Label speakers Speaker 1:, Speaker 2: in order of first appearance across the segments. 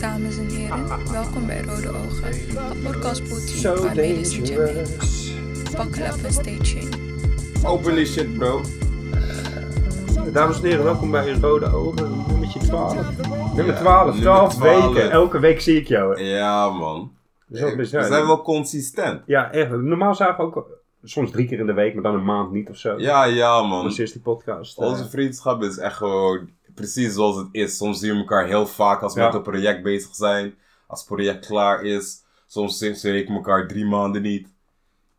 Speaker 1: dames en heren. Welkom bij Rode Ogen. Een podcast boutique
Speaker 2: So
Speaker 1: waar ladies and gentlemen
Speaker 2: dangerous.
Speaker 1: buckle up and stay tuned.
Speaker 3: Open die shit, bro.
Speaker 2: eh. Dames en heren, welkom bij Rode Ogen, nummertje 12. Nummer 12,
Speaker 3: nummer
Speaker 2: 12
Speaker 3: 12.
Speaker 2: weken. Elke week zie ik jou. hè.
Speaker 3: Ja, man.
Speaker 2: Dat is wel
Speaker 3: We
Speaker 2: bizar.
Speaker 3: zijn wel consistent.
Speaker 2: Ja, echt. Normaal zagen we ook soms drie keer in de week, maar dan een maand niet of zo.
Speaker 3: Ja, ja, man.
Speaker 2: Anders is die podcast. eh,
Speaker 3: Onze vriendschap is echt gewoon precies zoals het is. Soms zien we elkaar heel vaak als we
Speaker 2: Ja.
Speaker 3: met een project bezig zijn. Als het project klaar is. Soms zie zie ik elkaar drie maanden niet.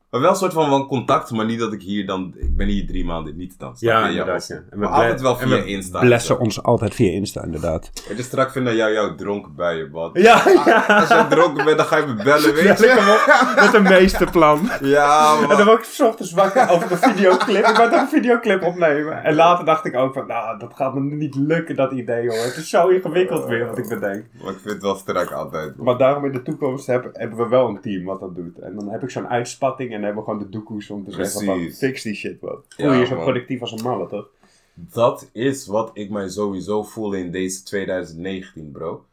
Speaker 3: Maar wel een soort van, van contact, maar niet dat ik hier dan... Ik ben hier drie maanden niet dan. snap je?
Speaker 2: ja, inderdaad.
Speaker 3: we-
Speaker 2: ja. En
Speaker 3: Maar altijd wel
Speaker 2: en
Speaker 3: via
Speaker 2: we
Speaker 3: Insta.
Speaker 2: blessen ons altijd via Insta, inderdaad.
Speaker 3: Het is straks vinden jou jouw dronken bij je, man.
Speaker 2: Ja, ja.
Speaker 3: Als jij dronken bent, dan ga je me bellen, weet
Speaker 2: Lekker
Speaker 3: je?
Speaker 2: op. Dat is een meesterplan.
Speaker 3: Ja,
Speaker 2: En dan
Speaker 3: man.
Speaker 2: word ik 's ochtends wakker over een videoclip. Ik wou toch een videoclip opnemen. En later dacht ik ook van, nou, dat gaat me niet lukken, dat idee, hoor. Het is zo ingewikkeld weer wat ik bedenk.
Speaker 3: Maar ik vind het wel strak altijd, man.
Speaker 2: Maar daarom in de toekomst heb- hebben we wel een team wat dat doet. En dan heb ik zo'n uitspatting en hebben we gewoon de doekoes om te zeggen van,
Speaker 3: Precies.
Speaker 2: fix die shit, man.
Speaker 3: Ja,
Speaker 2: Voel je je zo
Speaker 3: man.
Speaker 2: productief als een malle, toch?
Speaker 3: Dat is wat ik mij sowieso voel in deze 2019, bro.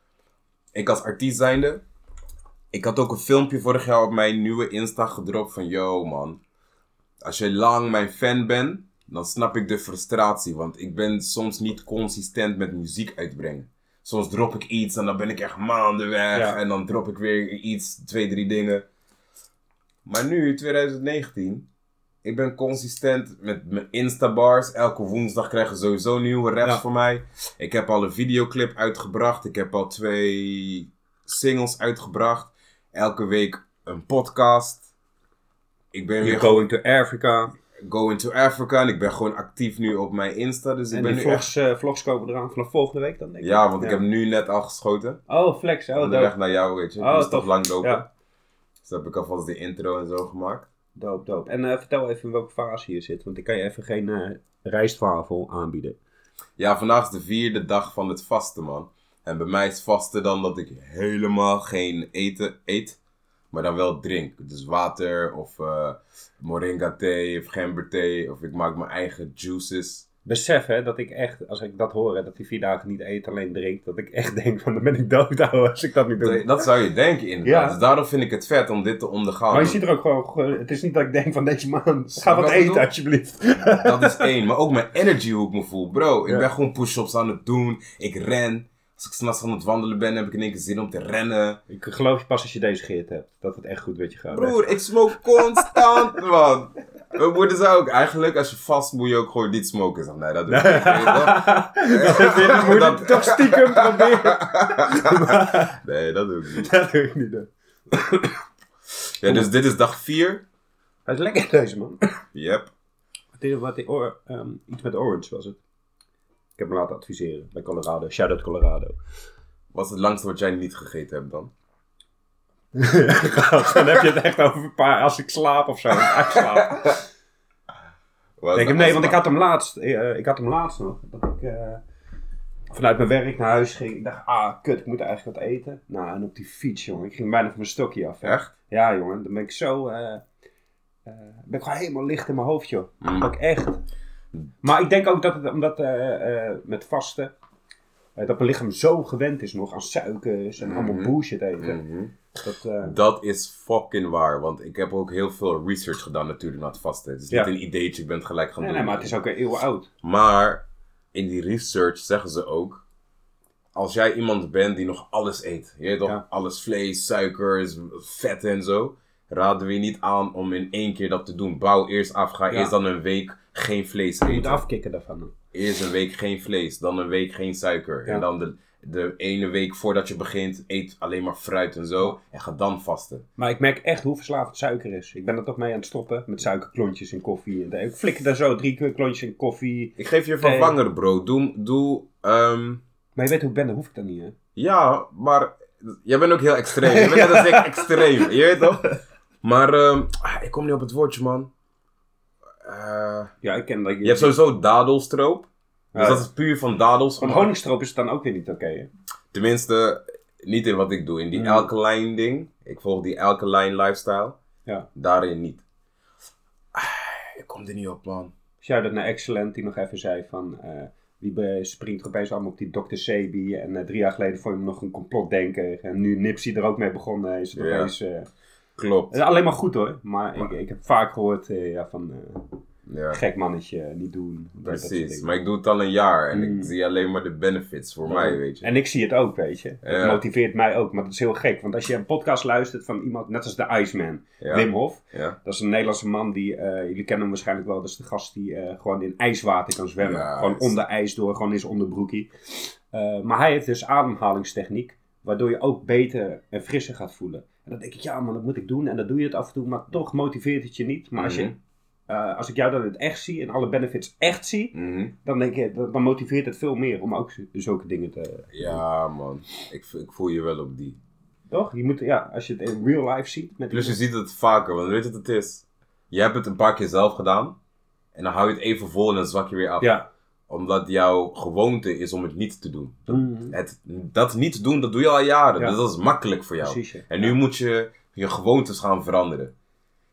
Speaker 3: Ik als artiest zijnde, ik had ook een filmpje vorig jaar op mijn nieuwe Insta gedropt van... Yo man, als je lang mijn fan bent, dan snap ik de frustratie. Want ik ben soms niet consistent met muziek uitbrengen. Soms drop ik iets en dan ben ik echt maanden weg.
Speaker 2: Ja.
Speaker 3: En dan drop ik weer iets, twee, drie dingen. Maar nu, 2019, ik ben consistent met mijn Instabars. Elke woensdag krijgen sowieso nieuwe raps
Speaker 2: Ja.
Speaker 3: voor mij. Ik heb al een videoclip uitgebracht. Ik heb al twee singles uitgebracht. Elke week een podcast. Ik ben weer
Speaker 2: going to Africa.
Speaker 3: going to Africa. En ik ben gewoon actief nu op mijn Insta. Dus ik
Speaker 2: En
Speaker 3: ben
Speaker 2: die
Speaker 3: nu echt...
Speaker 2: vlogs, eh, vlogs komen eraan vanaf volgende week dan, denk ik.
Speaker 3: Ja, want ik heb nu net al geschoten.
Speaker 2: Oh, flex. Oh,
Speaker 3: Onderweg
Speaker 2: dope.
Speaker 3: naar jou, weet je.
Speaker 2: Oh,
Speaker 3: Oh, dus toch
Speaker 2: tof.
Speaker 3: lang lopen.
Speaker 2: Ja.
Speaker 3: Dus heb ik alvast de intro en zo gemaakt.
Speaker 2: Doop, doop. En eh, vertel even in welke fase je zit, want ik kan je even geen eh rijstwafel aanbieden.
Speaker 3: Ja, vandaag is de vierde dag van het vasten, man. En bij mij is vasten dan dat ik helemaal geen eten eet, maar dan wel drink. Dus water of eh, moringa thee of gemberthee of ik maak mijn eigen juices.
Speaker 2: Besef hè, dat ik echt, als ik dat hoor, hè, dat die vier dagen niet eet, alleen drinkt, dat ik echt denk van, dan ben ik dood ouwe, als ik dat niet doe.
Speaker 3: Dat, dat zou je denken inderdaad.
Speaker 2: Ja.
Speaker 3: Dus daarom vind ik het vet om dit te ondergaan.
Speaker 2: Maar je ziet er ook gewoon, ge- het is niet dat ik denk van deze man, ga
Speaker 3: Snap
Speaker 2: wat
Speaker 3: wat ik
Speaker 2: eten
Speaker 3: bedoel?
Speaker 2: alsjeblieft.
Speaker 3: Dat is één. Maar ook mijn energy hoe ik me voel. Bro, ik
Speaker 2: Ja.
Speaker 3: ben gewoon push-ups aan het doen. Ik ren. Als ik s'nachts aan het wandelen ben, heb ik in één keer zin om te rennen.
Speaker 2: Ik geloof je pas als je deze geert hebt, dat het echt goed met je gaat. hè.
Speaker 3: Broer, ik smoke constant, man. Mijn moeder zei ook, eigenlijk als je vast moet je ook gewoon niet smoken. Ik zeg, nee, dat doe ik niet. Weet je wel?
Speaker 2: dat wil ik
Speaker 3: Dat-
Speaker 2: toch stiekem proberen.
Speaker 3: Nee, dat doe ik niet.
Speaker 2: dat doe ik niet. hè.
Speaker 3: Ja, dus dit is dag 4.
Speaker 2: Hij is lekker deze man.
Speaker 3: Yep.
Speaker 2: Het is wat die or- ehm, iets met orange was het. Ik heb hem laten adviseren bij Colorado, shout-out Colorado.
Speaker 3: Wat is het langste wat jij niet gegeten hebt dan?
Speaker 2: Gast, dan heb je het echt over een paar als ik slaap of zo. als ik uitslaap.
Speaker 3: Wat-
Speaker 2: Denk ik, nee, want ik had hem laatst, eh, ik had hem laatst nog. Dat ik eh, vanuit mijn werk naar huis ging. Ik dacht, ah, kut, ik moet eigenlijk wat eten. Nou, en op die fiets, jongen. Ik ging bijna van mijn stokje af. hè.
Speaker 3: Echt?
Speaker 2: Ja, jongen. Dan ben ik zo... eh, eh, ben ik gewoon helemaal licht in mijn hoofd, joh.
Speaker 3: Mm.
Speaker 2: Ook echt. Maar ik denk ook dat het, omdat eh, eh, met vasten, eh, dat mijn lichaam zo gewend is nog aan suikers en allemaal
Speaker 3: Mhm.
Speaker 2: bullshit eten.
Speaker 3: Mhm.
Speaker 2: Dat, eh,
Speaker 3: Dat is fucking waar, want ik heb ook heel veel research gedaan natuurlijk naar het vasten. Het is
Speaker 2: Ja.
Speaker 3: niet een ideetje, ik ben het gelijk gaan
Speaker 2: nee,
Speaker 3: doen.
Speaker 2: nee, maar het is ook een eeuw oud.
Speaker 3: Maar in die research zeggen ze ook, als jij iemand bent die nog alles eet, je weet toch,
Speaker 2: Ja.
Speaker 3: alles vlees, suikers, vetten en zo, raden we je niet aan om in één keer dat te doen. Bouw eerst af, ga
Speaker 2: Ja.
Speaker 3: eerst dan een week geen vlees
Speaker 2: Je moet
Speaker 3: eten.
Speaker 2: afkicken daarvan.
Speaker 3: Eerst een week geen vlees, dan een week geen suiker.
Speaker 2: Ja.
Speaker 3: En dan de, de ene week voordat je begint, eet alleen maar fruit en zo. En ga dan vasten.
Speaker 2: Maar ik merk echt hoe verslaafd suiker is. Ik ben er toch mee aan het stoppen met suikerklontjes in koffie. En ik flikker daar zo drie keer klontjes in koffie.
Speaker 3: Ik geef je een
Speaker 2: Nee.
Speaker 3: vervanger, bro. Doe, doe ehm,
Speaker 2: Maar je weet hoe ik ben, dan hoef ik dat niet, hè?
Speaker 3: ja, maar jij bent ook heel extreem. Je bent net als ik extreem, je weet toch? Maar ehm, ah, ik kom niet op het woordje, man. Eh,
Speaker 2: Ja, ik ken dat.
Speaker 3: je hebt sowieso dadelstroop. Dus
Speaker 2: Ja.
Speaker 3: dat is puur van dadels.
Speaker 2: Van
Speaker 3: gemaakt.
Speaker 2: honingstroop is het dan ook weer niet oké, hè?
Speaker 3: Tenminste, niet in wat ik doe. In die
Speaker 2: Mm.
Speaker 3: alkaline ding. Ik volg die alkaline lifestyle.
Speaker 2: Ja.
Speaker 3: Daarin niet. Ah, ik kom er niet op, man.
Speaker 2: Shout-out naar Excellent, die nog even zei van... eh, Die be- springt er opeens allemaal op die Dr. Sebi. En eh, drie jaar geleden vond je hem nog een complotdenker. En nu Nipsey er ook mee begonnen is. Het
Speaker 3: Ja.
Speaker 2: opeens, eh, het
Speaker 3: Klopt.
Speaker 2: is alleen maar goed hoor. Maar ik, ik heb vaak gehoord eh, ja, van eh,
Speaker 3: Ja,
Speaker 2: gek mannetje, eh, niet doen. dat soort
Speaker 3: precies.
Speaker 2: dingen.
Speaker 3: Maar ik doe het al een jaar en
Speaker 2: Mm.
Speaker 3: ik zie alleen maar de benefits voor mij, weet je.
Speaker 2: En ik zie het ook, weet je. Het
Speaker 3: Ja.
Speaker 2: motiveert mij ook. Maar dat is heel gek. Want als je een podcast luistert van iemand, net als de Iceman,
Speaker 3: Ja.
Speaker 2: Wim Hof.
Speaker 3: Ja.
Speaker 2: Dat is een Nederlandse man die, eh, jullie kennen hem waarschijnlijk wel. Dat is de gast die eh, gewoon in ijswater kan zwemmen.
Speaker 3: Ja,
Speaker 2: gewoon
Speaker 3: is-
Speaker 2: onder ijs door, gewoon in zijn onderbroekie. Eh, maar hij heeft dus ademhalingstechniek. Waardoor je ook beter en frisser gaat voelen. En dan denk ik, ja man, dat moet ik doen. En dan doe je het af en toe, maar toch motiveert het je niet. Maar als, je,
Speaker 3: Mhm.
Speaker 2: eh, als ik jou dan in het echt zie en alle benefits echt zie.
Speaker 3: Mhm.
Speaker 2: Dan, denk je, dan dan motiveert het veel meer om ook z- zulke dingen te...
Speaker 3: Ja, man. Ik, v- ik voel je wel op die.
Speaker 2: Toch? Je moet, ja, als je het in real life ziet. Met
Speaker 3: Plus je ziet het vaker, want weet je wat het is? Je hebt het een paar keer zelf gedaan. En dan hou je het even vol en dan zwak je weer af.
Speaker 2: Ja.
Speaker 3: Omdat jouw gewoonte is om het niet te doen.
Speaker 2: Mhm.
Speaker 3: Het, dat niet doen, dat doe je al jaren.
Speaker 2: Ja.
Speaker 3: Dus dat is makkelijk voor jou.
Speaker 2: Precies, ja.
Speaker 3: En nu moet je je gewoontes gaan veranderen.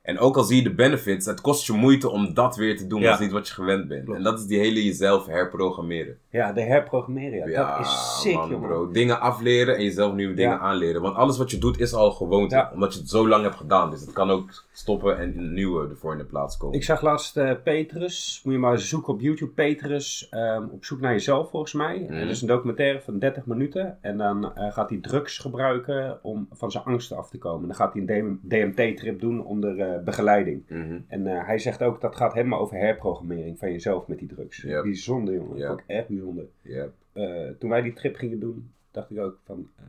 Speaker 3: En ook al zie je de benefits, het kost je moeite om dat weer te doen.
Speaker 2: Ja.
Speaker 3: Dat is niet wat je gewend bent.
Speaker 2: Klopt.
Speaker 3: En dat is die hele jezelf herprogrammeren.
Speaker 2: Ja, de herprogrammeren. Ja, dat is sick,
Speaker 3: man,
Speaker 2: jongen.
Speaker 3: bro. Dingen afleren en jezelf nieuwe dingen
Speaker 2: Ja.
Speaker 3: aanleren. Want alles wat je doet is al gewoonte.
Speaker 2: Ja.
Speaker 3: Omdat je het zo lang hebt gedaan. Dus het kan ook stoppen en een nieuwe ervoor in de plaats komen.
Speaker 2: Ik zag laatst eh, Petrus. Moet je maar zoeken op YouTube. Petrus ehm, op zoek naar jezelf, volgens mij.
Speaker 3: Mhm.
Speaker 2: En dat is een documentaire van 30 minuten. En dan eh, gaat hij drugs gebruiken om van zijn angsten af te komen. Dan gaat hij een DMT-trip doen onder eh, begeleiding.
Speaker 3: Mhm.
Speaker 2: En eh, hij zegt ook, dat gaat helemaal over herprogrammering van jezelf met die drugs.
Speaker 3: Yep.
Speaker 2: Bijzonder, jongen.
Speaker 3: Yep.
Speaker 2: Dat vond ik echt bijzonder.
Speaker 3: Ja.
Speaker 2: Eh, toen wij die trip gingen doen, dacht ik ook van... eh,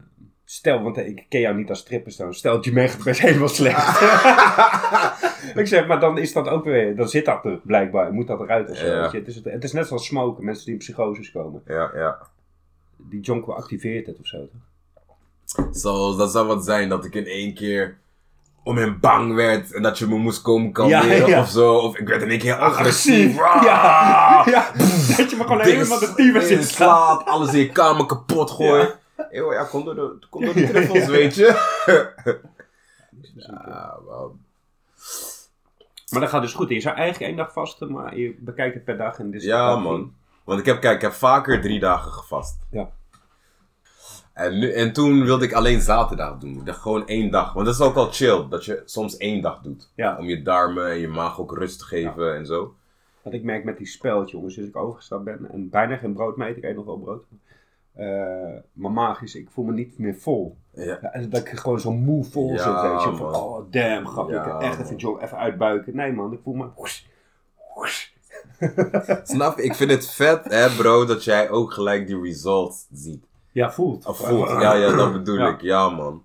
Speaker 2: stel, want ik ken jou niet als stripperstoon. Stel, dat je merkt best helemaal slecht. ik zeg, maar dan is dat ook weer... Dan zit dat er blijkbaar. Moet dat eruit of zo.
Speaker 3: Ja.
Speaker 2: weet je. Het, is, het, het is net zoals smoken. Mensen die in psychoses komen.
Speaker 3: Ja, ja.
Speaker 2: Die jonko activeert het of zo. toch?
Speaker 3: Zo, dat zou wat zijn dat ik in één keer om hem bang werd. En dat je me moest komen kalmeren
Speaker 2: Ja, ja.
Speaker 3: of zo. Of ik werd in één keer agressief.
Speaker 2: Ja.
Speaker 3: Ah!
Speaker 2: Ja. Dat je me gewoon
Speaker 3: Dingen
Speaker 2: helemaal de tyfus
Speaker 3: in
Speaker 2: in
Speaker 3: slaap, alles in je kamer kapot gooien. Eeuw, ja, kom door de, kom door de truffels, weet je. Ja, man.
Speaker 2: Maar dat gaat dus goed. Je zou eigenlijk één dag vasten, maar je bekijkt het per dag. En dit is
Speaker 3: Ja,
Speaker 2: dag
Speaker 3: man. Want ik heb, kijk, ik heb vaker drie dagen gevast.
Speaker 2: Ja.
Speaker 3: En, nu, en toen wilde ik alleen zaterdag doen. Ik dacht gewoon één dag. Want dat is ook al chill, dat je soms één dag doet.
Speaker 2: Ja.
Speaker 3: Om je darmen en je maag ook rust te geven en zo.
Speaker 2: Wat ik merk met die speld, jongens, sinds ik overgestapt ben en bijna geen brood meer eet, ik eet nog wel brood. Eh maar magisch, ik voel me niet meer vol.
Speaker 3: Ja.
Speaker 2: Ja, en dat ik gewoon zo moe vol
Speaker 3: Ja,
Speaker 2: zit, weet je. Van,
Speaker 3: man.
Speaker 2: oh, damn, grap, ik
Speaker 3: Ja,
Speaker 2: kan echt even,
Speaker 3: man.
Speaker 2: jong, even uitbuiken. Nee, man, ik voel me... woes, woes.
Speaker 3: Snap je? Ik vind het vet, hè bro, dat jij ook gelijk die results ziet.
Speaker 2: Ja, voelt.
Speaker 3: Of Oh, voelt. Ja, ja, dat bedoel
Speaker 2: eh, Ja.
Speaker 3: ik. Ja, man.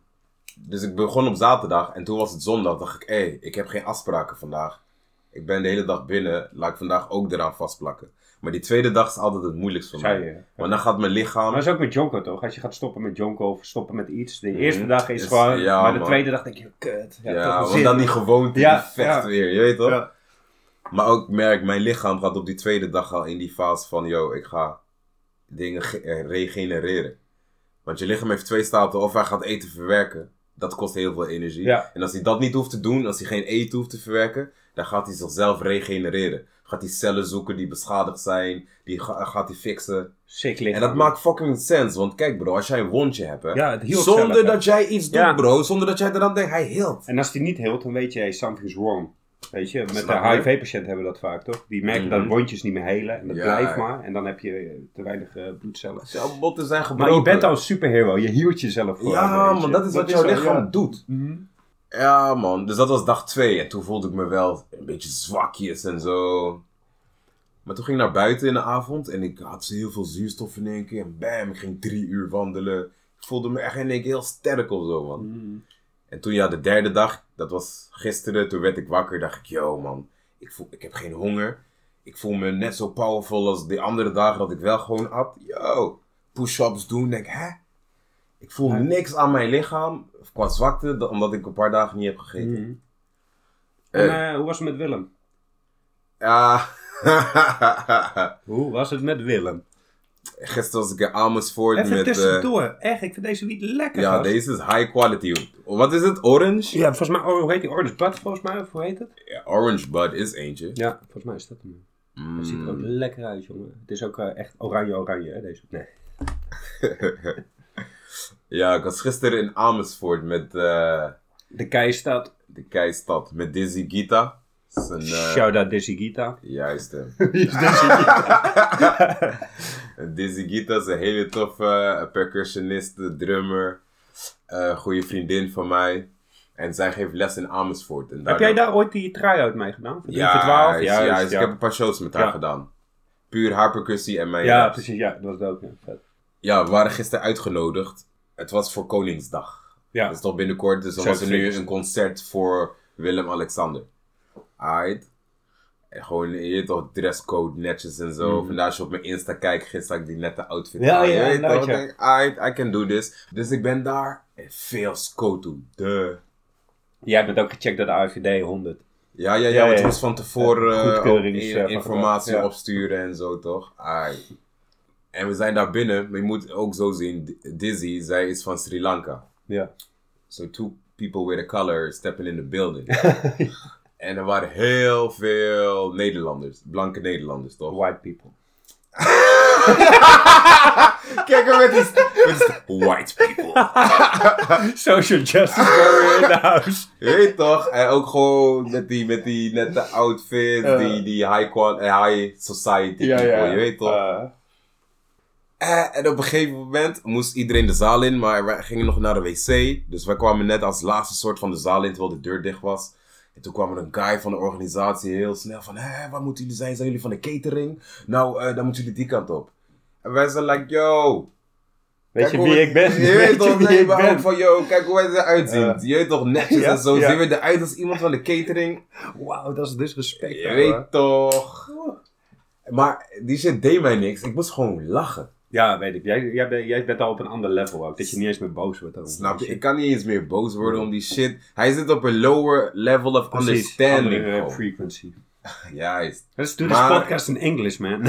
Speaker 3: Dus ik begon op zaterdag en toen was het zondag. Dacht ik, hé, ik heb geen afspraken vandaag. Ik ben de hele dag binnen. Laat ik vandaag ook eraan vastplakken. Maar die tweede dag is altijd het moeilijkst voor
Speaker 2: Zei
Speaker 3: mij.
Speaker 2: je.
Speaker 3: Want dan gaat mijn
Speaker 2: Maar
Speaker 3: lichaam...
Speaker 2: dat is ook met Jonko, toch? Als je gaat stoppen met Jonko of stoppen met iets. De
Speaker 3: Mhm.
Speaker 2: eerste dag is
Speaker 3: Is-
Speaker 2: gewoon...
Speaker 3: ja,
Speaker 2: maar de
Speaker 3: man.
Speaker 2: tweede dag denk je, kut.
Speaker 3: Ja,
Speaker 2: toch wel
Speaker 3: want
Speaker 2: zin.
Speaker 3: dan die gewoonte
Speaker 2: Ja,
Speaker 3: die vecht
Speaker 2: ja.
Speaker 3: weer, je weet toch?
Speaker 2: Ja.
Speaker 3: Maar ook merk, mijn lichaam gaat op die tweede dag al in die fase van... Yo, ik ga dingen ge- eh, regenereren. Want je lichaam heeft twee staten. Of hij gaat eten verwerken. Dat kost heel veel energie.
Speaker 2: Ja.
Speaker 3: En als hij dat niet hoeft te doen, als hij geen eten hoeft te verwerken... Dan gaat hij zichzelf regenereren. Gaat hij cellen zoeken die beschadigd zijn. Die ga- gaat hij fixen.
Speaker 2: Sick lichaam.
Speaker 3: En dat maakt fucking sense. Want kijk bro, als jij een wondje hebt hè.
Speaker 2: Ja, het hield zelf, hè.
Speaker 3: zonder dat jij iets doet
Speaker 2: Ja.
Speaker 3: bro. Zonder dat jij eraan denkt, hij hield.
Speaker 2: En als die niet heelt, dan weet je, hey, something's wrong. Weet je, met
Speaker 3: Snap
Speaker 2: de
Speaker 3: je?
Speaker 2: HIV-patiënten hebben we dat vaak, toch? Die merken
Speaker 3: Mhm.
Speaker 2: dat wondjes niet meer helen en dat
Speaker 3: Ja.
Speaker 2: blijft maar. En dan heb je eh, te weinig eh, bloedcellen.
Speaker 3: Jouw botten zijn
Speaker 2: Maar
Speaker 3: gebroken.
Speaker 2: je bent al een superhero, je hield jezelf voor.
Speaker 3: Ja, man, dat is wat jouw lichaam doet.
Speaker 2: Mhm.
Speaker 3: Ja, man. Dus dat was dag twee. En toen voelde ik me wel een beetje zwakjes en zo. Maar toen ging ik naar buiten in de avond. En ik had heel veel zuurstof in één keer. En bam, ik ging drie uur wandelen. Ik voelde me echt in één keer heel sterk of zo, man.
Speaker 2: Mhm.
Speaker 3: En toen, ja, de derde dag, dat was gisteren, toen werd ik wakker, dacht ik, yo man, ik, voel, ik heb geen honger. Ik voel me net zo powerful als de andere dagen dat ik wel gewoon at. Yo, push-ups doen, denk hè? Ik voel
Speaker 2: Ja.
Speaker 3: niks aan mijn lichaam qua zwakte, da- omdat ik een paar dagen niet heb gegeten.
Speaker 2: Mhm.
Speaker 3: Eh.
Speaker 2: En eh, hoe was het met Willem?
Speaker 3: Ja,
Speaker 2: Hoe was het met Willem?
Speaker 3: gisteren was ik in Amersfoort
Speaker 2: Even
Speaker 3: met... eh,
Speaker 2: tussendoor, echt, ik vind deze wiet lekker.
Speaker 3: ja,
Speaker 2: gast.
Speaker 3: deze is high quality. Wat is het? Orange?
Speaker 2: Ja, volgens mij, oh, hoe heet die? Orange Bud, volgens mij, of hoe heet het?
Speaker 3: Ja, Orange Bud is eentje.
Speaker 2: Ja, volgens mij is dat hem.
Speaker 3: Mm.
Speaker 2: Het ziet er ook lekker uit, jongen. Het is ook eh, echt oranje-oranje, hè, deze. Nee.
Speaker 3: Ja, ik was gisteren in Amersfoort met eh,
Speaker 2: De kei staat.
Speaker 3: de keistad, met Dizzy Gita. Dat is een, eh,
Speaker 2: Shout-out Dizzy
Speaker 3: Nou,
Speaker 2: Gita.
Speaker 3: Juist hem.
Speaker 2: Wie is Dizzy Gita?
Speaker 3: En Dizzy Gita is een hele toffe eh, percussionist, drummer, eh goede vriendin van mij. En zij geeft les in Amersfoort. En
Speaker 2: Heb
Speaker 3: daardoor-
Speaker 2: jij daar ooit die try-out mee gedaan? Voor
Speaker 3: Ja,
Speaker 2: 3 voor 12?
Speaker 3: juist,
Speaker 2: Juist,
Speaker 3: juist. ik heb een paar shows met haar
Speaker 2: dus Ja.
Speaker 3: gedaan. Puur haar percussie en mijn... eh,
Speaker 2: Ja, precies. Ja, dat was dope. Ja, vet.
Speaker 3: Ja, we waren gisteren uitgenodigd. Het was voor Koningsdag.
Speaker 2: ja.
Speaker 3: Dat is toch binnenkort, dus dan
Speaker 2: Zo
Speaker 3: was er nu
Speaker 2: fix.
Speaker 3: een concert voor Willem-Alexander. Aight. En gewoon, je weet toch, dresscode netjes en zo.
Speaker 2: Mhm.
Speaker 3: Vandaar als je op mijn Insta kijkt, gisteren had ik die nette outfit
Speaker 2: Ja,
Speaker 3: aan.
Speaker 2: ja,
Speaker 3: je weet
Speaker 2: inderdaad,
Speaker 3: toch,
Speaker 2: ja.
Speaker 3: denk, aight, I can do this. Dus ik ben daar en veel scoot doen. Duh.
Speaker 2: Jij bent ook gecheckt door de AVD 100.
Speaker 3: Ja, ja, ja,
Speaker 2: Ja,
Speaker 3: want
Speaker 2: ja.
Speaker 3: je moest van tevoren eh,
Speaker 2: Goedkeurings,
Speaker 3: ook
Speaker 2: eh,
Speaker 3: in-
Speaker 2: van
Speaker 3: informatie
Speaker 2: gebruik, ja.
Speaker 3: opsturen en zo, toch? Ai. En we zijn daar binnen, maar je moet ook zo zien, D- Dizzy, zij is van Sri Lanka.
Speaker 2: Ja.
Speaker 3: So two people with a color stepping in the building. en er waren heel veel Nederlanders, blanke Nederlanders, toch?
Speaker 2: White people.
Speaker 3: Kijk maar met die... st- met die st- white people.
Speaker 2: Social justice warrior in the house.
Speaker 3: Je weet toch? En ook gewoon met die, met die nette outfit,
Speaker 2: Ja.
Speaker 3: die, die high, qua- eh, high society people, je weet toch?
Speaker 2: Eh,
Speaker 3: Eh, en op een gegeven moment moest iedereen de zaal in, maar wij gingen nog naar de wc. Dus wij kwamen net als laatste soort van de zaal in, terwijl de deur dicht was. En toen kwam er een guy van de organisatie heel snel van, hé, waar moeten jullie zijn? Zijn jullie van de catering? Nou, eh, dan moeten jullie die kant op. En wij zijn like, yo.
Speaker 2: weet
Speaker 3: kijk
Speaker 2: je
Speaker 3: hoe
Speaker 2: wie
Speaker 3: we-
Speaker 2: ik ben?
Speaker 3: Je weet toch,
Speaker 2: wie
Speaker 3: nee,
Speaker 2: ik
Speaker 3: maar ook
Speaker 2: ben?
Speaker 3: van, yo, kijk hoe wij eruit zien.
Speaker 2: Ja.
Speaker 3: Je weet toch, netjes
Speaker 2: Ja,
Speaker 3: en zo.
Speaker 2: ja.
Speaker 3: Zien we eruit als iemand van de catering?
Speaker 2: Wauw, dat is dus respect.
Speaker 3: Je
Speaker 2: ouwe.
Speaker 3: weet toch. Maar die shit deed mij niks. Ik moest gewoon lachen.
Speaker 2: Ja, weet ik. Jij, jij, bent, jij bent al op een ander level ook. Dat je niet eens meer boos wordt. over
Speaker 3: Snap je?
Speaker 2: shit.
Speaker 3: Ik kan niet eens meer boos worden om die shit. Hij zit op een lower level of
Speaker 2: Precies,
Speaker 3: understanding.
Speaker 2: andere, eh,
Speaker 3: gewoon.
Speaker 2: frequency.
Speaker 3: Juist.
Speaker 2: Let's do
Speaker 3: Maar-
Speaker 2: this podcast in English, man.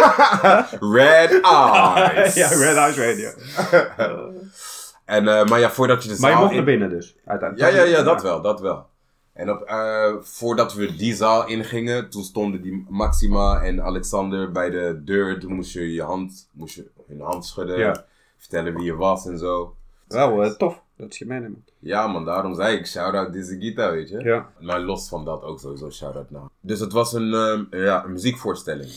Speaker 3: Red eyes.
Speaker 2: ja, Red House Radio.
Speaker 3: En, eh, maar ja, voordat je de
Speaker 2: maar je
Speaker 3: zaal
Speaker 2: mocht
Speaker 3: in-
Speaker 2: naar binnen dus, uiteindelijk.
Speaker 3: Ja, ja, ja, dat wel, dat wel. En op, eh, voordat we die zaal ingingen, toen stonden die Maxima en Alexander bij de deur. Toen moest je je hand, moest je hun hand schudden,
Speaker 2: Ja.
Speaker 3: vertellen wie je was en zo.
Speaker 2: Wel eh, tof, dat je meeneemt.
Speaker 3: Ja man, daarom zei ik shout-out Dizzy Gita, weet je.
Speaker 2: Ja.
Speaker 3: Maar los van dat ook sowieso shout-out naar. Dus het was een, ehm, ja, een muziekvoorstelling.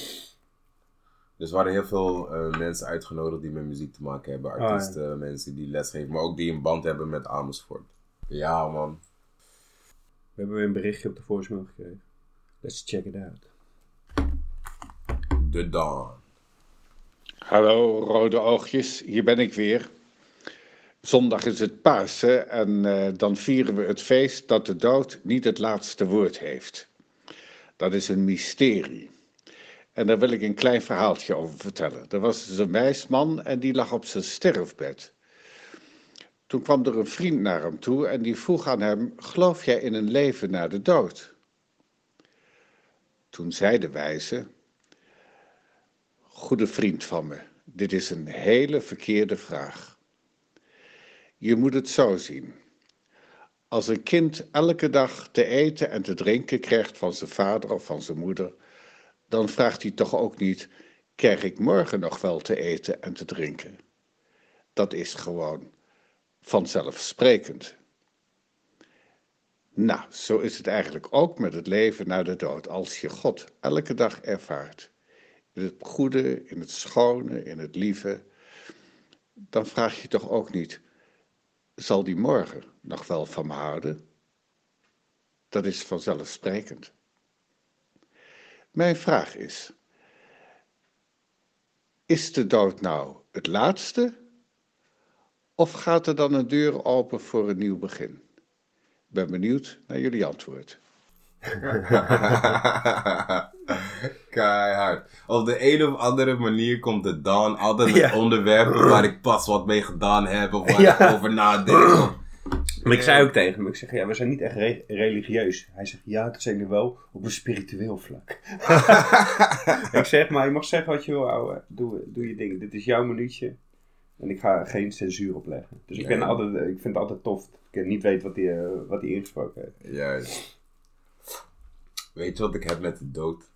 Speaker 3: Dus er waren heel veel eh, mensen uitgenodigd die met muziek te maken hebben.
Speaker 2: Ah, ja.
Speaker 3: Artiesten, mensen die lesgeven, maar ook die een band hebben met Amersfoort. Ja man.
Speaker 2: We hebben weer een berichtje op de voicemail gekregen. Let's check it out.
Speaker 3: De Dawn.
Speaker 4: Hallo rode oogjes, hier ben ik weer. Zondag is het Pasen en eh, dan vieren we het feest dat de dood niet het laatste woord heeft. Dat is een mysterie. En daar wil ik een klein verhaaltje over vertellen. Er was dus een wijs man en die lag op zijn sterfbed. Toen kwam er een vriend naar hem toe en die vroeg aan hem: Geloof jij in een leven na de dood? Toen zei de wijze: Goede vriend van me, dit is een hele verkeerde vraag. Je moet het zo zien. Als een kind elke dag te eten en te drinken krijgt van zijn vader of van zijn moeder, dan vraagt hij toch ook niet: krijg ik morgen nog wel te eten en te drinken? Dat is gewoon vanzelfsprekend. Nou, zo is het eigenlijk ook met het leven na de dood, als je God elke dag ervaart in het goede, in het schone, in het lieve, dan vraag je toch ook niet: zal die morgen nog wel van me houden? Dat is vanzelfsprekend. Mijn vraag is: is de dood nou het laatste? Of gaat er dan een deur open voor een nieuw begin? Ik ben benieuwd naar jullie antwoord.
Speaker 3: Keihard. Op de een of andere manier komt de Dawn altijd met
Speaker 2: Ja.
Speaker 3: onderwerpen waar ik pas wat mee gedaan heb of waar
Speaker 2: Ja.
Speaker 3: ik over nadenk.
Speaker 2: Maar ik
Speaker 3: Eh.
Speaker 2: zei ook tegen hem, ik zeg, ja, we zijn niet echt re- religieus. Hij zegt, ja, dat zijn we wel op een spiritueel vlak. ik zeg, maar je mag zeggen wat je wil, ouwe. Doe, doe je ding. Dit is jouw minuutje. En ik ga geen censuur opleggen. Dus ik, ben
Speaker 3: Ja.
Speaker 2: altijd, ik vind het altijd tof dat ik niet weet wat hij eh, wat hij ingesproken heeft.
Speaker 3: Juist. Weet je wat ik heb met de dood?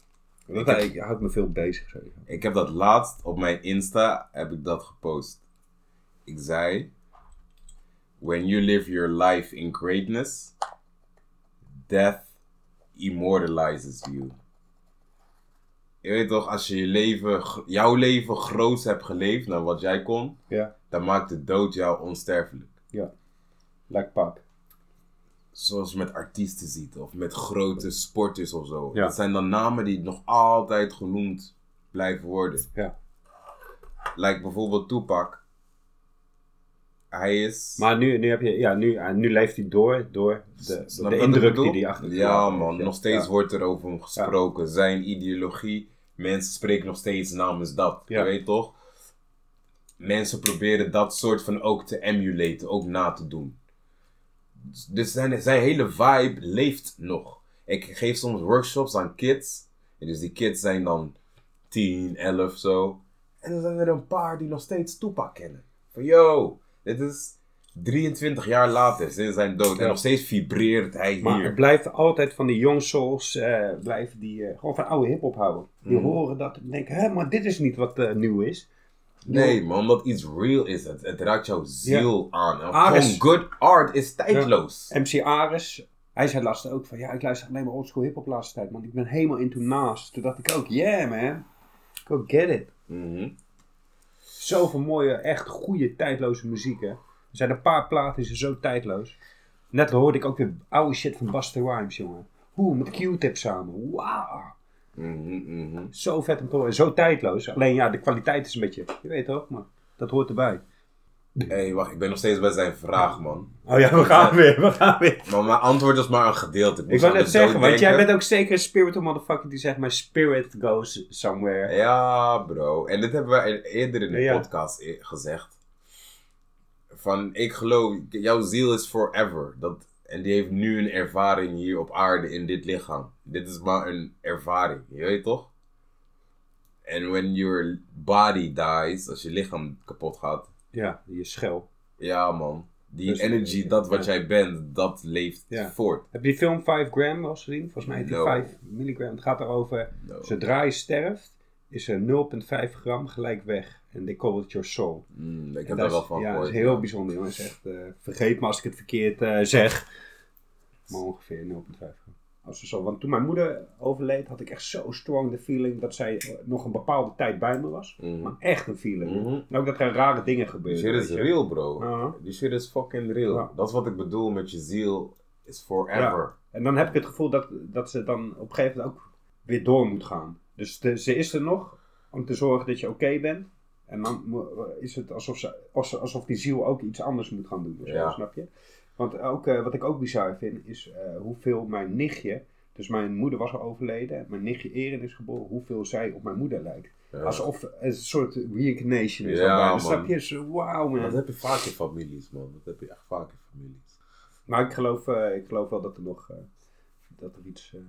Speaker 2: Dat houdt- houdt me veel bezig. Zo.
Speaker 3: Ik heb dat laatst op mijn Insta heb ik dat gepost. Ik zei: When you live your life in greatness, death immortalizes you. Je weet toch, als je, je leven, gr- jouw leven groots hebt geleefd naar wat jij kon,
Speaker 2: Ja,
Speaker 3: dan maakt de dood jou onsterfelijk.
Speaker 2: like pap.
Speaker 3: Zoals je met artiesten ziet, of met grote sporters of zo.
Speaker 2: Ja.
Speaker 3: Dat zijn dan namen die nog altijd genoemd blijven worden.
Speaker 2: Ja.
Speaker 3: Like bijvoorbeeld Tupac. Hij is...
Speaker 2: Maar nu, nu, heb je, ja, nu, ah, nu leeft hij door, door de, door
Speaker 3: Snap je
Speaker 2: de
Speaker 3: wat ik
Speaker 2: indruk
Speaker 3: bedoel?
Speaker 2: die hij achter
Speaker 3: Ja man, nog steeds wordt er over hem gesproken. Zijn ideologie, mensen spreken nog steeds namens dat.
Speaker 2: Ja.
Speaker 3: Je weet toch? Mensen proberen dat soort van ook te emulaten, ook na te doen. Dus zijn, zijn hele vibe leeft nog. Ik geef soms workshops aan kids. En dus die kids zijn dan 10, 11 zo. En dan zijn er een paar die nog steeds Tupac kennen. Van yo, dit is 23 jaar later sinds zijn dood.
Speaker 2: Ja.
Speaker 3: En nog steeds vibreert hij
Speaker 2: Maar
Speaker 3: hier.
Speaker 2: het blijft altijd van die young souls, eh, blijven die eh, gewoon van oude hip-hop houden. Die
Speaker 3: Mhm.
Speaker 2: horen dat en denken, hè, maar dit is niet wat eh, nieuw is.
Speaker 3: Nee, man, omdat iets real is. Het, het raakt jouw ziel aan. En
Speaker 2: Ares.
Speaker 3: Gewoon good art is tijdloos.
Speaker 2: MC Ares, hij zei laatst ook van, ja, ik luister alleen maar oldschool hip-hop de laatste tijd, man. Ik ben helemaal into Nas. Toen dacht ik ook, yeah man, go get it.
Speaker 3: Mhm.
Speaker 2: Zoveel mooie, echt goede, tijdloze muziek, hè. Er zijn een paar platen, die zijn zo tijdloos. Net hoorde ik ook weer oude shit van Buster Rhymes, jongen. Hoe, met Q-tip samen. Wauw.
Speaker 3: Mhm, mhm.
Speaker 2: Zo vet om te horen. Zo tijdloos. Alleen ja, de kwaliteit is een beetje... Je weet toch, maar dat hoort erbij.
Speaker 3: Hé, hey, wacht, ik ben nog steeds bij zijn vraag, man.
Speaker 2: Oh ja, we gaan weer. We gaan weer.
Speaker 3: Maar mijn antwoord is maar een gedeelte.
Speaker 2: Ik wou net zeggen, want jij bent ook zeker een spiritual motherfucker die zegt... My spirit goes somewhere.
Speaker 3: Ja, bro. En dit hebben we e-, eerder in de
Speaker 2: Ja.
Speaker 3: podcast e- gezegd. Van, ik geloof, jouw ziel is forever. Dat, en die heeft nu een ervaring hier op aarde in dit lichaam. Dit is maar een ervaring, je weet toch? En when your body dies, als je lichaam kapot gaat.
Speaker 2: Ja, je schel.
Speaker 3: Ja, man. Die
Speaker 2: Dus-
Speaker 3: energy, dat wat
Speaker 2: ja.
Speaker 3: jij bent, dat leeft
Speaker 2: Ja.
Speaker 3: voort.
Speaker 2: Heb je die film 5 gram wel eens gezien? Volgens mij heet die
Speaker 3: No.
Speaker 2: 5 milligram. Het gaat erover...
Speaker 3: No.
Speaker 2: Zodra je sterft, is er 0,5 gram gelijk weg. En they call it your soul.
Speaker 3: Mm, ik
Speaker 2: En
Speaker 3: heb daar
Speaker 2: dat
Speaker 3: wel
Speaker 2: is-
Speaker 3: van
Speaker 2: Ja, dat
Speaker 3: gehoord.
Speaker 2: is heel bijzonder, jongens. Echt, eh, vergeet me als ik het verkeerd eh, zeg. Maar ongeveer 0,5. Als we zo, want toen mijn moeder overleed, had ik echt zo strong de feeling dat zij eh, nog een bepaalde tijd bij me was.
Speaker 3: Mhm.
Speaker 2: Maar echt een feeling.
Speaker 3: Mhm.
Speaker 2: En ook dat er rare dingen
Speaker 3: Die
Speaker 2: gebeurden.
Speaker 3: shit is
Speaker 2: weet je.
Speaker 3: real, bro.
Speaker 2: Ja.
Speaker 3: Die shit is fucking real.
Speaker 2: Ja.
Speaker 3: Dat is wat ik bedoel met je ziel is forever.
Speaker 2: En dan heb ik het gevoel dat, dat ze dan op een gegeven moment ook weer door moet gaan. Dus de- ze is er nog om te zorgen dat je oké bent. En dan mo- is het alsof, ze, als- alsof die ziel ook iets anders moet gaan doen. of zo,
Speaker 3: Ja.
Speaker 2: Snap je? Want ook, eh, wat ik ook bizar vind, is eh, hoeveel mijn nichtje. Dus mijn moeder was al overleden, mijn nichtje Erin is geboren, hoeveel zij op mijn moeder lijkt.
Speaker 3: Ja.
Speaker 2: Alsof het een soort reincarnation is.
Speaker 3: Ja,
Speaker 2: al bijna.
Speaker 3: man.
Speaker 2: Snap je? Zo, Wauw,
Speaker 3: Dat
Speaker 2: man.
Speaker 3: heb je vaak in families, man. Dat heb je echt vaak in families.
Speaker 2: Maar ik geloof, eh, ik geloof wel dat er nog eh, dat er iets, eh,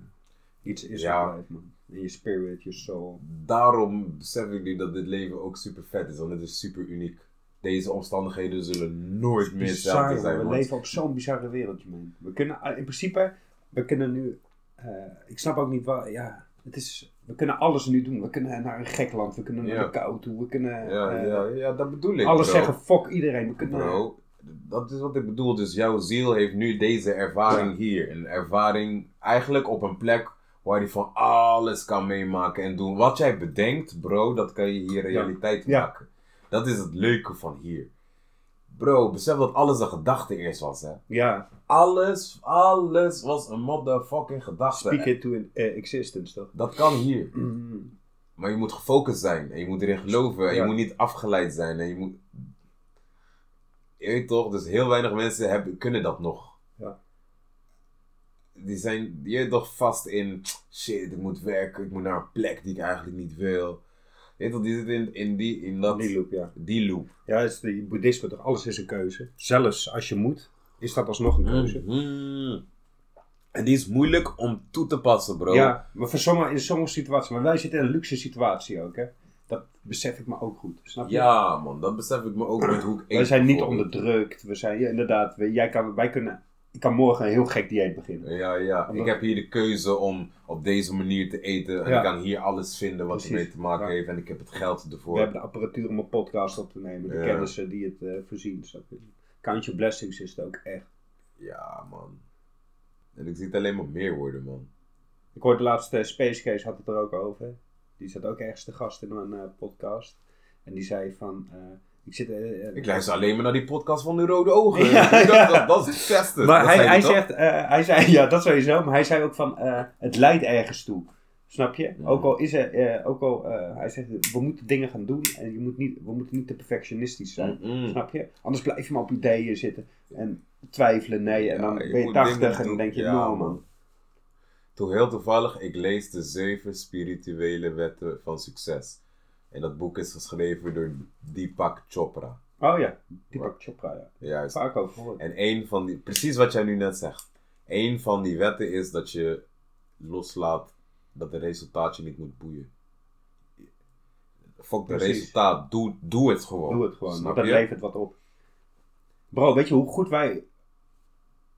Speaker 2: iets is
Speaker 3: Ja.
Speaker 2: ja. man. In je spirit, je soul.
Speaker 3: Daarom besef ik nu dat dit leven ook super vet is, want het is super uniek. Deze omstandigheden zullen nooit meer hetzelfde
Speaker 2: Bizar,
Speaker 3: zijn.
Speaker 2: we
Speaker 3: man.
Speaker 2: leven op zo'n bizarre wereldje, man. We kunnen eh, in principe, we kunnen nu, eh, ik snap ook niet waar, ja, het is, we kunnen alles nu doen. We kunnen naar een gek land, we kunnen naar
Speaker 3: Ja.
Speaker 2: de kou toe, we kunnen
Speaker 3: ja,
Speaker 2: eh,
Speaker 3: ja, ja, dat bedoel ik.
Speaker 2: alles
Speaker 3: bro.
Speaker 2: zeggen, fuck iedereen. We kunnen,
Speaker 3: Bro, dat is wat ik bedoel. Dus jouw ziel heeft nu deze ervaring hier. Een ervaring eigenlijk op een plek waar je van alles kan meemaken en doen. Wat jij bedenkt, bro, dat kan je hier realiteit
Speaker 2: Ja.
Speaker 3: maken. Dat is het leuke van hier. Bro, besef dat alles een gedachte eerst was, hè.
Speaker 2: Ja,
Speaker 3: Alles, alles was een motherfucking gedachte.
Speaker 2: speak it to in- eh, existence, toch?
Speaker 3: Dat kan hier.
Speaker 2: Mm.
Speaker 3: Maar je moet gefocust zijn. En je moet erin geloven. En
Speaker 2: Ja.
Speaker 3: je moet niet afgeleid zijn. En je moet... Je weet toch? Dus heel weinig mensen hebben, kunnen dat nog.
Speaker 2: Ja.
Speaker 3: Die zijn je weet toch vast in... Shit, ik moet werken. Ik moet naar een plek die ik eigenlijk niet wil. Je weet toch? Die zitten in, in, die, in dat,
Speaker 2: Die loop, ja.
Speaker 3: die loop.
Speaker 2: Ja, het is die boeddhisme, toch? Alles is een keuze. Zelfs als je moet, is dat alsnog
Speaker 3: Mm.
Speaker 2: een keuze.
Speaker 3: Mhm. En die is moeilijk om toe te passen, bro.
Speaker 2: Ja, maar voor sommige, in sommige situaties. Maar wij zitten in een luxe situatie ook, hè. Dat besef ik me ook goed, snap je?
Speaker 3: Ja, man. Dat besef ik me ook met hoe ik
Speaker 2: Wij
Speaker 3: eet,
Speaker 2: zijn niet
Speaker 3: bijvoorbeeld.
Speaker 2: onderdrukt. We zijn, ja, inderdaad, we- jij kan, wij kunnen ik kan morgen een heel gek dieet beginnen.
Speaker 3: Ja, ja. Ik heb hier de keuze om op deze manier te eten. En
Speaker 2: Ja.
Speaker 3: ik kan hier alles vinden wat
Speaker 2: Precies.
Speaker 3: ermee te maken
Speaker 2: Ja.
Speaker 3: heeft. En ik heb het geld ervoor.
Speaker 2: We hebben de apparatuur om een podcast op te nemen. De
Speaker 3: Ja.
Speaker 2: kennissen die het eh, voorzien. snap je? Count your blessings is het ook echt.
Speaker 3: Ja, man. En ik zie het alleen maar meer worden, man.
Speaker 2: Ik hoorde laatst, eh, Space Case had het er ook over. Die zat ook ergens te gast in een eh, podcast. En die zei van, eh, ik zit... eh, eh,
Speaker 3: Ik luister alleen maar naar die podcast van de Rode Ogen.
Speaker 2: Ja.
Speaker 3: Dat, dat, dat is het beste.
Speaker 2: Maar
Speaker 3: Dat
Speaker 2: hij,
Speaker 3: zei
Speaker 2: hij
Speaker 3: je toch?
Speaker 2: zegt, eh, hij zei, ja dat sowieso, maar hij zei ook van, eh, het leidt ergens toe. Snap je?
Speaker 3: Ja.
Speaker 2: Ook al is er, eh, ook al, eh, hij zegt, we moeten dingen gaan doen en je moet niet, we moeten niet te perfectionistisch zijn.
Speaker 3: Mm-mm.
Speaker 2: Snap je? Anders blijf je maar op ideeën zitten en twijfelen, nee, en
Speaker 3: Ja,
Speaker 2: dan ben je
Speaker 3: moet
Speaker 2: tachtig
Speaker 3: dingen
Speaker 2: en dan
Speaker 3: doen.
Speaker 2: denk je,
Speaker 3: Ja,
Speaker 2: nou man.
Speaker 3: Toen heel toevallig, ik lees de zeven spirituele wetten van succes. En dat boek is geschreven door Deepak Chopra.
Speaker 2: Oh ja, die pak Chopra, ja.
Speaker 3: Juist.
Speaker 2: Vaak over gehoord.
Speaker 3: En een van die, precies wat jij nu net zegt. Een van die wetten is dat je loslaat dat de resultaat je niet moet boeien. Fuck de
Speaker 2: Precies.
Speaker 3: resultaat, doe, doe het gewoon.
Speaker 2: Doe het gewoon,
Speaker 3: Snap
Speaker 2: want dat
Speaker 3: je?
Speaker 2: levert wat op. Bro, weet je hoe goed wij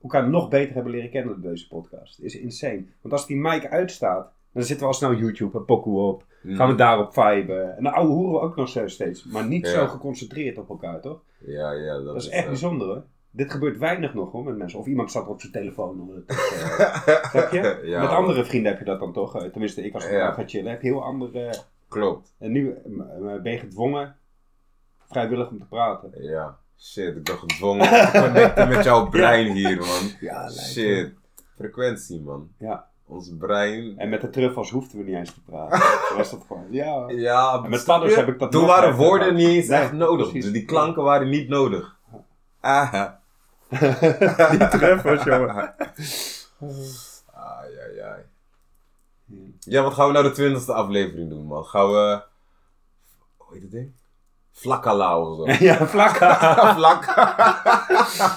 Speaker 2: elkaar nog beter hebben leren kennen door deze podcast? Is insane. Want als die mic uitstaat, dan zitten we al snel YouTube en pokoe op.
Speaker 3: Mm.
Speaker 2: Gaan we daarop viben. En dan ouwe hoeren we ook nog zo steeds. Maar niet
Speaker 3: Ja.
Speaker 2: zo geconcentreerd op elkaar, toch?
Speaker 3: Ja, ja, dat,
Speaker 2: Dat is echt
Speaker 3: eh,
Speaker 2: bijzonder, hoor. Dit gebeurt weinig nog, hoor, met mensen. Of iemand staat op zijn telefoon. om het te zeggen. Snap je?
Speaker 3: Ja,
Speaker 2: met
Speaker 3: man.
Speaker 2: andere vrienden heb je dat dan toch? eh, Tenminste, ik als ik
Speaker 3: Ja.
Speaker 2: ja. ga chillen, heb je heel andere...
Speaker 3: Klopt.
Speaker 2: En nu eh, m- ben je gedwongen vrijwillig om te praten.
Speaker 3: Ja, shit, ik ben gedwongen te connecten met jouw brein hier, man.
Speaker 2: Ja,
Speaker 3: Shit, frequentie, man.
Speaker 2: Ja.
Speaker 3: Ons brein.
Speaker 2: En met de truffels hoefden we niet eens te praten. Toen was dat gewoon, ja.
Speaker 3: Ja,
Speaker 2: En met paddels heb ik dat
Speaker 3: Toen
Speaker 2: nog
Speaker 3: waren
Speaker 2: echt
Speaker 3: woorden
Speaker 2: gedaan.
Speaker 3: niet eens
Speaker 2: Nee,
Speaker 3: echt nodig.
Speaker 2: precies.
Speaker 3: Dus die klanken waren niet nodig. Ah, Aha.
Speaker 2: Die truffels, jongen.
Speaker 3: Ai, ai, ai. Ja, wat gaan we nou de twintigste aflevering doen, man? Gaan we... Hoe heet dat ding? Flakkala of zo.
Speaker 2: ja, vlakka.
Speaker 3: Flakka.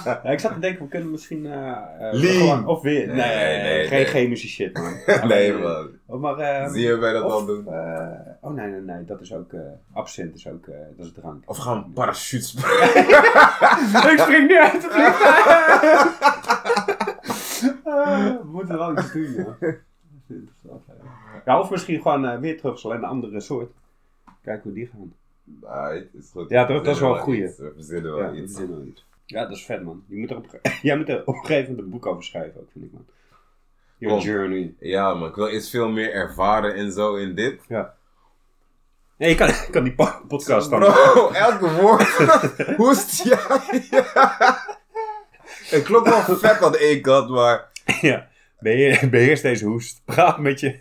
Speaker 2: Ja, ik zat te denken, we kunnen misschien... eh, eh,
Speaker 3: Lean.
Speaker 2: gewoon- of weer... Nee,
Speaker 3: Nee, nee, nee.
Speaker 2: geen chemische shit, man.
Speaker 3: Nee, man.
Speaker 2: Oh, Maar, eh,
Speaker 3: Zie je wij dat
Speaker 2: of,
Speaker 3: al doen?
Speaker 2: eh, oh, nee, nee, nee. Dat is ook... eh absint is ook... eh, dat is drank.
Speaker 3: Of gaan we een parachute springen? Oh,
Speaker 2: ik spring nu uit de vliegtuig. we moeten wel iets doen, ja. Ja, of misschien gewoon eh, weer terug, alleen een andere soort. Kijken hoe die gaan.
Speaker 3: Nee, is goed.
Speaker 2: Ja, dat-
Speaker 3: We
Speaker 2: dat is wel een
Speaker 3: verzinnen
Speaker 2: goeie.
Speaker 3: iets. We verzinnen
Speaker 2: Ja,
Speaker 3: wel
Speaker 2: dat
Speaker 3: iets.
Speaker 2: is wel iets. Ja, dat is vet, man. Je moet er op, jij moet er op een gegeven moment een boek over schrijven, ook, vind ik, man. Your
Speaker 3: Kom.
Speaker 2: journey.
Speaker 3: Ja, man, ik wil eens veel meer ervaren en zo in dit.
Speaker 2: Nee, je kan, je kan die po- podcast dan...
Speaker 3: Bro, elke woord. Hoe is het? Ja, Het klopt wel vet aan de ene kant, maar.
Speaker 2: Ja. Beheer, beheers deze hoest. Praat met je.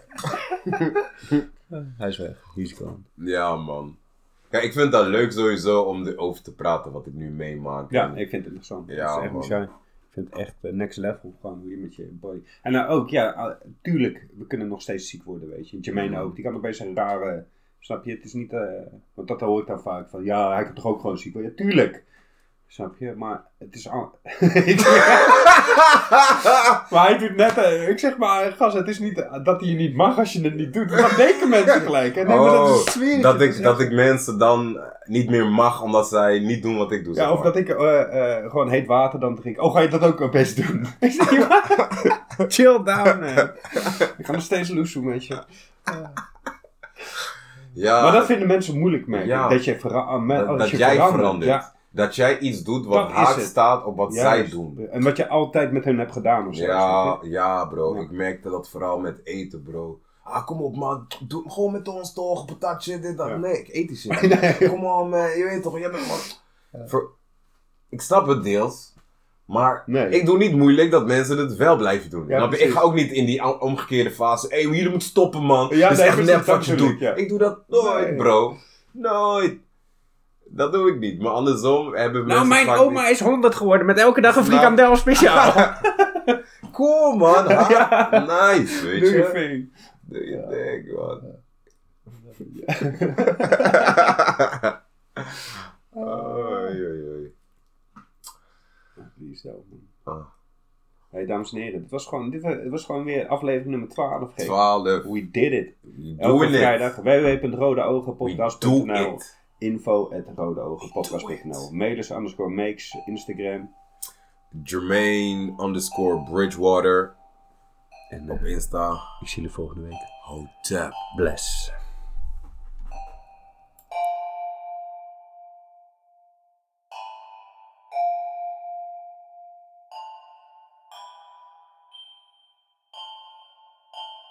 Speaker 2: Hij is weg. He's gone.
Speaker 3: Ja, man. Kijk, ik vind dat leuk sowieso om erover te praten wat ik nu meemaak.
Speaker 2: Ja, ik vind het interessant.
Speaker 3: Ja,
Speaker 2: dat is echt
Speaker 3: man.
Speaker 2: bizar. Ik vind het echt eh, next level, gewoon hoe je met je body... En dan ook, ja, ah, tuurlijk, we kunnen nog steeds ziek worden, weet je.
Speaker 3: Mhm.
Speaker 2: Jermaine ook, die kan nog best een rare... Snap je, het is niet... eh, want dat hoor ik dan vaak, van ja, hij kan toch ook gewoon ziek worden? Ja, tuurlijk! Snap je, maar het is... al- maar hij doet net... eh, ik zeg maar, gast, het is niet eh, dat hij je niet mag als je het niet doet. Dat denken mensen gelijk. hè? Nee, maar
Speaker 3: Oh.
Speaker 2: dat is een sfeertje, is
Speaker 3: dat, ik,
Speaker 2: echt-
Speaker 3: dat ik mensen dan eh, niet meer mag omdat zij niet doen wat ik doe. zeg
Speaker 2: Ja, of
Speaker 3: maar.
Speaker 2: dat ik eh, eh, gewoon heet water dan drink. Oh, ga je dat ook wel best doen? Ik zeg, "Ja." Chill down, man. Ik ga nog steeds loesoe met je.
Speaker 3: Ah. ja,
Speaker 2: maar dat vinden mensen moeilijk, merk ik.
Speaker 3: Ja.
Speaker 2: Dat, je vera- met-
Speaker 3: dat,
Speaker 2: als
Speaker 3: dat
Speaker 2: je
Speaker 3: jij verandert.
Speaker 2: Ja,
Speaker 3: Dat jij iets doet wat
Speaker 2: Dat is
Speaker 3: haak
Speaker 2: het.
Speaker 3: staat op wat zij
Speaker 2: juist.
Speaker 3: doen.
Speaker 2: En wat je altijd met hun hebt gedaan of zo.
Speaker 3: Ja,
Speaker 2: snap
Speaker 3: ja, bro.
Speaker 2: Ja.
Speaker 3: Ik merkte dat vooral met eten, bro. Ah, kom op, man. Doe het gewoon met ons toch. Patatje, dit, dat.
Speaker 2: Ja.
Speaker 3: Nee, ik eet die shit. niet. Kom op, man. Je weet toch, jij bent man. Voor- Ik snap het deels. Maar
Speaker 2: Nee.
Speaker 3: ik doe niet moeilijk dat mensen het wel blijven doen.
Speaker 2: Ja,
Speaker 3: Snap je? ik
Speaker 2: precies.
Speaker 3: ga ook niet in die om- omgekeerde fase. Hé, jullie moeten stoppen, man.
Speaker 2: Ja,
Speaker 3: dat is
Speaker 2: nee,
Speaker 3: echt
Speaker 2: precies,
Speaker 3: nep
Speaker 2: dat
Speaker 3: wat je
Speaker 2: bedoel
Speaker 3: doet.
Speaker 2: ik, ja.
Speaker 3: Ik doe dat nooit,
Speaker 2: Nee.
Speaker 3: bro. Nooit. Dat doe ik niet. Maar andersom hebben
Speaker 2: je?
Speaker 3: mensen vaak niet-
Speaker 2: Nou, is 100 geworden met elke dag een
Speaker 3: Nou.
Speaker 2: speciaal.
Speaker 3: Cool, man. Ha. Nice, weet
Speaker 2: Doe
Speaker 3: je.
Speaker 2: je thing.
Speaker 3: Doe je ding, man. Oei, oei, oei.
Speaker 2: Die is dope, man.
Speaker 3: Ah,
Speaker 2: Hey, dames en heren, dit was gewoon, dit, wa- het was gewoon weer aflevering nummer 12. Hey.
Speaker 3: 12.
Speaker 2: We did it.
Speaker 3: We
Speaker 2: Elke
Speaker 3: doen
Speaker 2: vrijdag
Speaker 3: het. We doen
Speaker 2: www.rodeogenpodcast.nl
Speaker 3: het.
Speaker 2: info at rodeogenpodcast.nl. Mailers underscore makes, Instagram.
Speaker 3: Jermaine underscore Bridgewater
Speaker 2: En
Speaker 3: op
Speaker 2: eh,
Speaker 3: Insta.
Speaker 2: ik zie jullie volgende week.
Speaker 3: Hotep.
Speaker 2: Bless.